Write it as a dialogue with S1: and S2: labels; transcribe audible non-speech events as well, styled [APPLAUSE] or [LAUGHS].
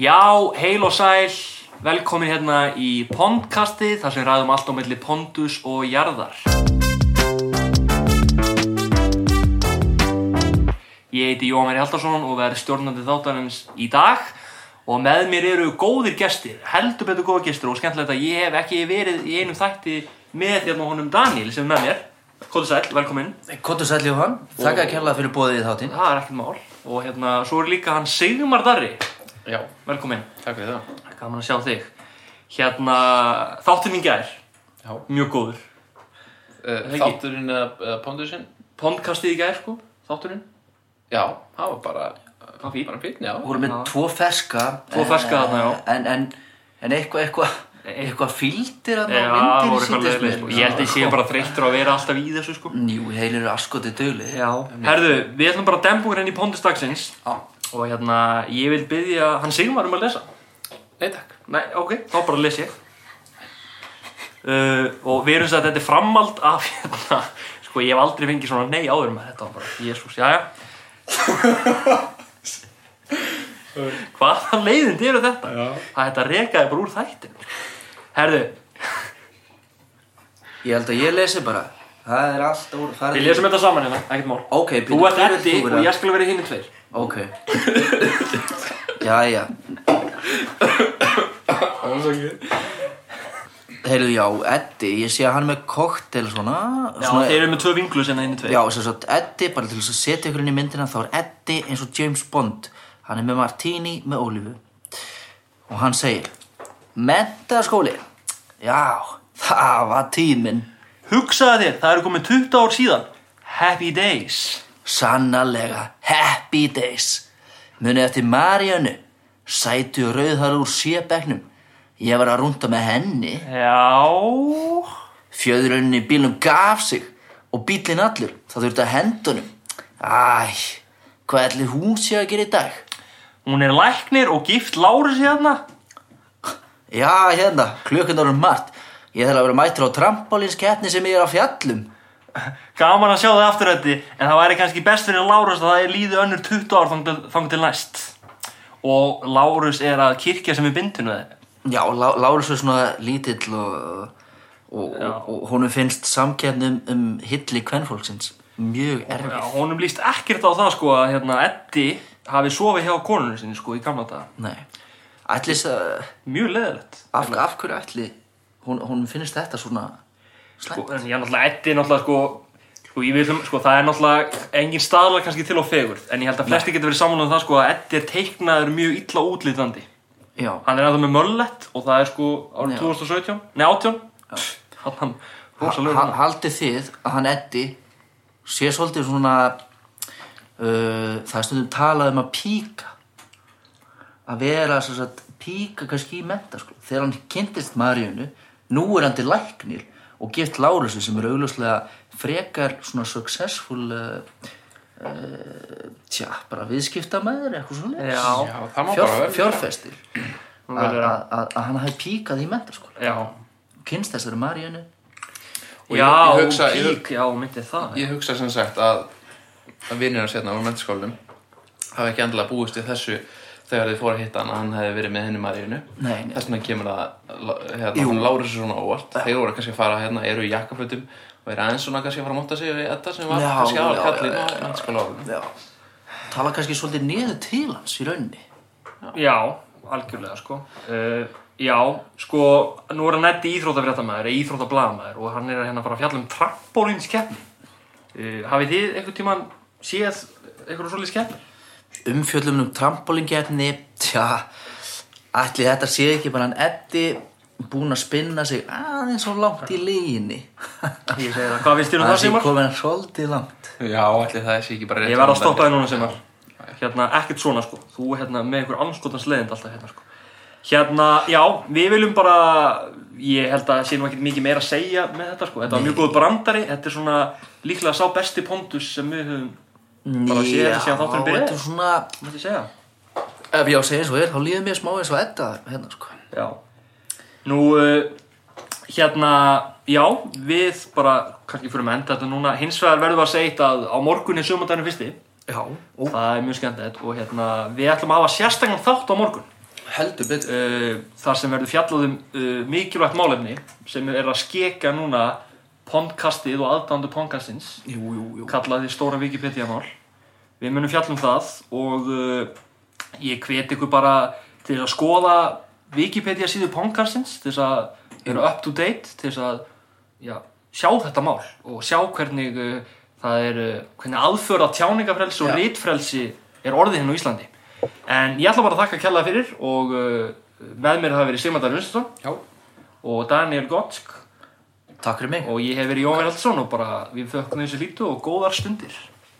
S1: Já, heil og sæl, velkomin hérna í Pondkastið, þar sem við ræðum allt á milli Pondus og Jarðar. Ég heiti Jóhann Mæri Haldarsson og verð stjórnandi þáttanins í dag og með mér eru góðir gestir, heldur betur góða gestir og skemmtilegt að ég hef ekki verið í einum þætti með hérna honum Daniel sem er með mér. Kóta sæl, velkomin.
S2: Kottu Sæll Jóhann, þakka að kjærlega fyrir bóðið í þáttinn
S1: Það er ekkert mál. Og hérna, svo er líka hann Sigmar Darri.
S3: Já,
S1: Velkomin.
S3: takk fyrir það.
S1: Gaman að sjá þig. Hérna, þátturinn í gær,
S3: Já.
S1: mjög góður.
S3: Uh,
S1: ekki?
S3: þátturinn eða uh, pondusinn?
S1: Pondkastið í gær, sko, þátturinn.
S3: Já, það var bara,
S1: Það var fín.
S3: bara fín, já.
S2: Þú voru með tvo ferska
S1: Tvo ferska
S2: eh,
S1: þarna, já.
S2: En, en, en eitthvað, eitthvað, eitthvað fíldir að
S1: Já, voru eitthvað leiðilegir, sko. Ég held að ég sé bara þreyttur að vera alltaf í þessu, sko.
S2: Jú, heilir eru askotið döglið
S1: Já. Herðu, við ætlum bara að dembu hérna í pondistagsins.
S2: Já.
S1: Og hérna, ég vil byggja, hann Sigmar um að lesa.
S3: Nei, takk.
S1: Nei, ok, þá bara les ég. Uh, og við erum þess að þetta er framald af, hérna, sko, ég hef aldrei fengið svona nei áður með þetta, var bara, jésús,
S3: [LAUGHS]
S1: jæja. Hvaða leiðind eru þetta?
S3: Já.
S1: Það þetta rekaði bara úr þættin. Herðu,
S2: Ég held að ég lesi bara Það er allt úr það er-
S1: við lesum þetta saman hérna, ekkert mál.
S2: Ok,
S1: Þú
S2: Pétur,
S1: ert
S2: hver vilt
S1: eddi
S2: þú vera?
S1: og ég skal vera hinn tveir.
S2: Ok [LAUGHS] Jæja
S3: Það var svo ekki.
S2: Heyrðu, já, Eddi, ég sé að hann er með koktel svona
S1: Já,
S2: svona-
S1: þeir eru með tvö vinglu sem hinn tveir.
S2: Já, sem sagt, Eddi, bara til þess að setja ykkur inn í myndina þá er Eddi eins og James Bond hann er með Martini með Ólífu og hann segir Mentaskóli Já, það var tíminn
S1: Hugsaði þér, það eru komið 20 ár síðan. Happy days.
S2: sannarlega happy days munið eftir Maríönu sætu rauðar úr sébæknum ég var að rúnda með henni
S1: Já.
S2: Fjöðurinn í bílnum gaf sig og bílinn allur, það þurfti að hendunum Æ, hvað ætli hún sé að gera í dag?
S1: Hún er læknir og gift Lárus hérna.
S2: Já, hérna, klukkan orðum margt Ég þarf að vera mættur á trampolínskeppni sem ég er á fjallum
S1: Gaman að sjá það afturrætti, en það væri kannski best fyrir Lárus að það er líði önnur 20 ár þang til, þang til næst. Og Lárus er að kirkja sem er bindinu þeim.
S2: Já, Lá- Lárus er svona lítill og, og, og, og honum finnst samkeppnum um hilli kvenfólksins Mjög erfið
S1: Já, honum líst ekkert á það sko að hérna Eddi hafi sofið hjá konunum sinni sko í gamla daga.
S2: Nei, ætli þess að
S1: Mjög leðilegt.
S2: af, af hverju ætli hún, hún finnst þetta svona
S1: Sko,
S2: slæmt
S1: en ég er náttúrulega Eddi er náttúrulega sko, sko ég vil um, sko það er náttúrulega engin staðlar kannski til á fegurð. En ég held að flesti getur verið samanlega um það sko að Eddi er teiknaður mjög illa útlítandi.
S2: Já,
S1: Hann er ennþá með möllett og það er sko árið 2017, nei 18. Hann, hann, rosalegur
S2: ha,
S1: hann.
S2: haldið þið að hann Eddi sé svolítið svona uh, það er stundum talað um að píka að vera svo sagt píka kannski í menta sko. þegar hann kynntist Maríunu nú er hann til læknir og gift Lárusi sem er augljóslega frekar svona successful uh, uh, tja, bara viðskiptamæður eitthvað svona
S1: Já.
S3: Já, það má bara
S2: Fjár,
S3: vera.
S2: fjárfestir
S1: Nú
S2: að
S1: verður
S2: að- að- að hann hafi píkað í menta sko.
S1: Já,
S2: kynst þessari Maríunu
S3: Og ég-
S1: já,
S3: ég hugsa- ég hug-
S1: pík, já, myndi það.
S3: Ég hugsa sem sagt að, að vinnir hans hérna úr mennskólum hafi ekki endilega búist við þessu þegar þið fóru að hitta hann að hann hefði verið með henni Maríunu.
S2: Nei, nei.
S3: Þess vegna kemur það hérna, hann Lárus er svona óvart. Þeir voru kannski að fara hérna, eru í jakkaflutum og eru aðeins svona kannski að fara að móta sig við Edda sem var
S2: Já,
S3: kannski
S2: já,
S3: aðal kallinn
S2: já,
S3: á mennskóla árum.
S2: Já. Tala kannski svolítið niður til hans í raunni.
S1: Já, algjörlega sko uh, Já, sko Nú er hann nætti íþrótafréttamaður eða íþrótablaðamaður og hann er hérna að fara að fjalla um trampolínskeppni uh, Hafið þið einhvern tímann séð einhverjum svolítið skeppni?
S2: Umfjöllum um trampolingefni, tja, ætli þetta sé ekki bara hann Eddi búinn að spinna sig aðeins svo langt í líginni.
S1: Ég segi það, hvað finnst þér um
S2: Það
S1: það
S2: sé
S1: Simar?
S2: komin svolítið langt.
S3: Já, allir það sé ekki bara rétt.
S1: Ég verð að stoppa þér núna Simar Hérna, ekkert svona sko Þú hérna með einhver anskotans leiðind alltaf hérna sko Hérna, já, við viljum bara Ég held að sé nú ekkert mikið meira að segja með þetta sko Þetta var mjög góð brandari Þetta er svona líklega sá besti pondus sem við höfum bara séð þetta síðan þátturinn
S2: Já,
S1: byrjaði
S2: þetta er svona,
S1: Mætti segja?
S2: ef ég á að segja eins og er, þá líður mér smá eins og Edda hérna, sko.
S1: Já. Nú, uh, hérna, já, við bara, kannski fyrir að enda þetta núna, hins vegar verðum við að segja eitt að á morgun er sumandaginu fyrsti,
S2: Já. Ó,
S1: það er mjög skemmtilegt og hérna, við ætlum að hafa sérstaklega þátt á morgun.
S3: heldur betur
S1: uh, þar sem verður fjallað um uh, mikilvægt málefni sem er að skeka núna podcastið og aðdándu podcastins
S2: Jú, jú, jú.
S1: kallaði stóra Wikipedia-mál við munum fjallum það og uh, ég hvet ykkur bara til að skoða Wikipedia síðu podcastins til þess að vera up to date til þess að já, sjá þetta mál og sjá hvernig uh, það er uh, hvernig aðföra tjáningafrelsi og
S2: Já.
S1: rítfrelsi er orðið hérna á Íslandi en ég ætla bara að þakka kjallaði fyrir og uh, með mér hafa verið Sigmar Unnsson
S3: Já.
S1: og Daniel Gottsk
S2: Takk fyrir mig.
S1: og ég hef verið Jón Veraldsson og bara við þökkum þessu lítu og góðar stundir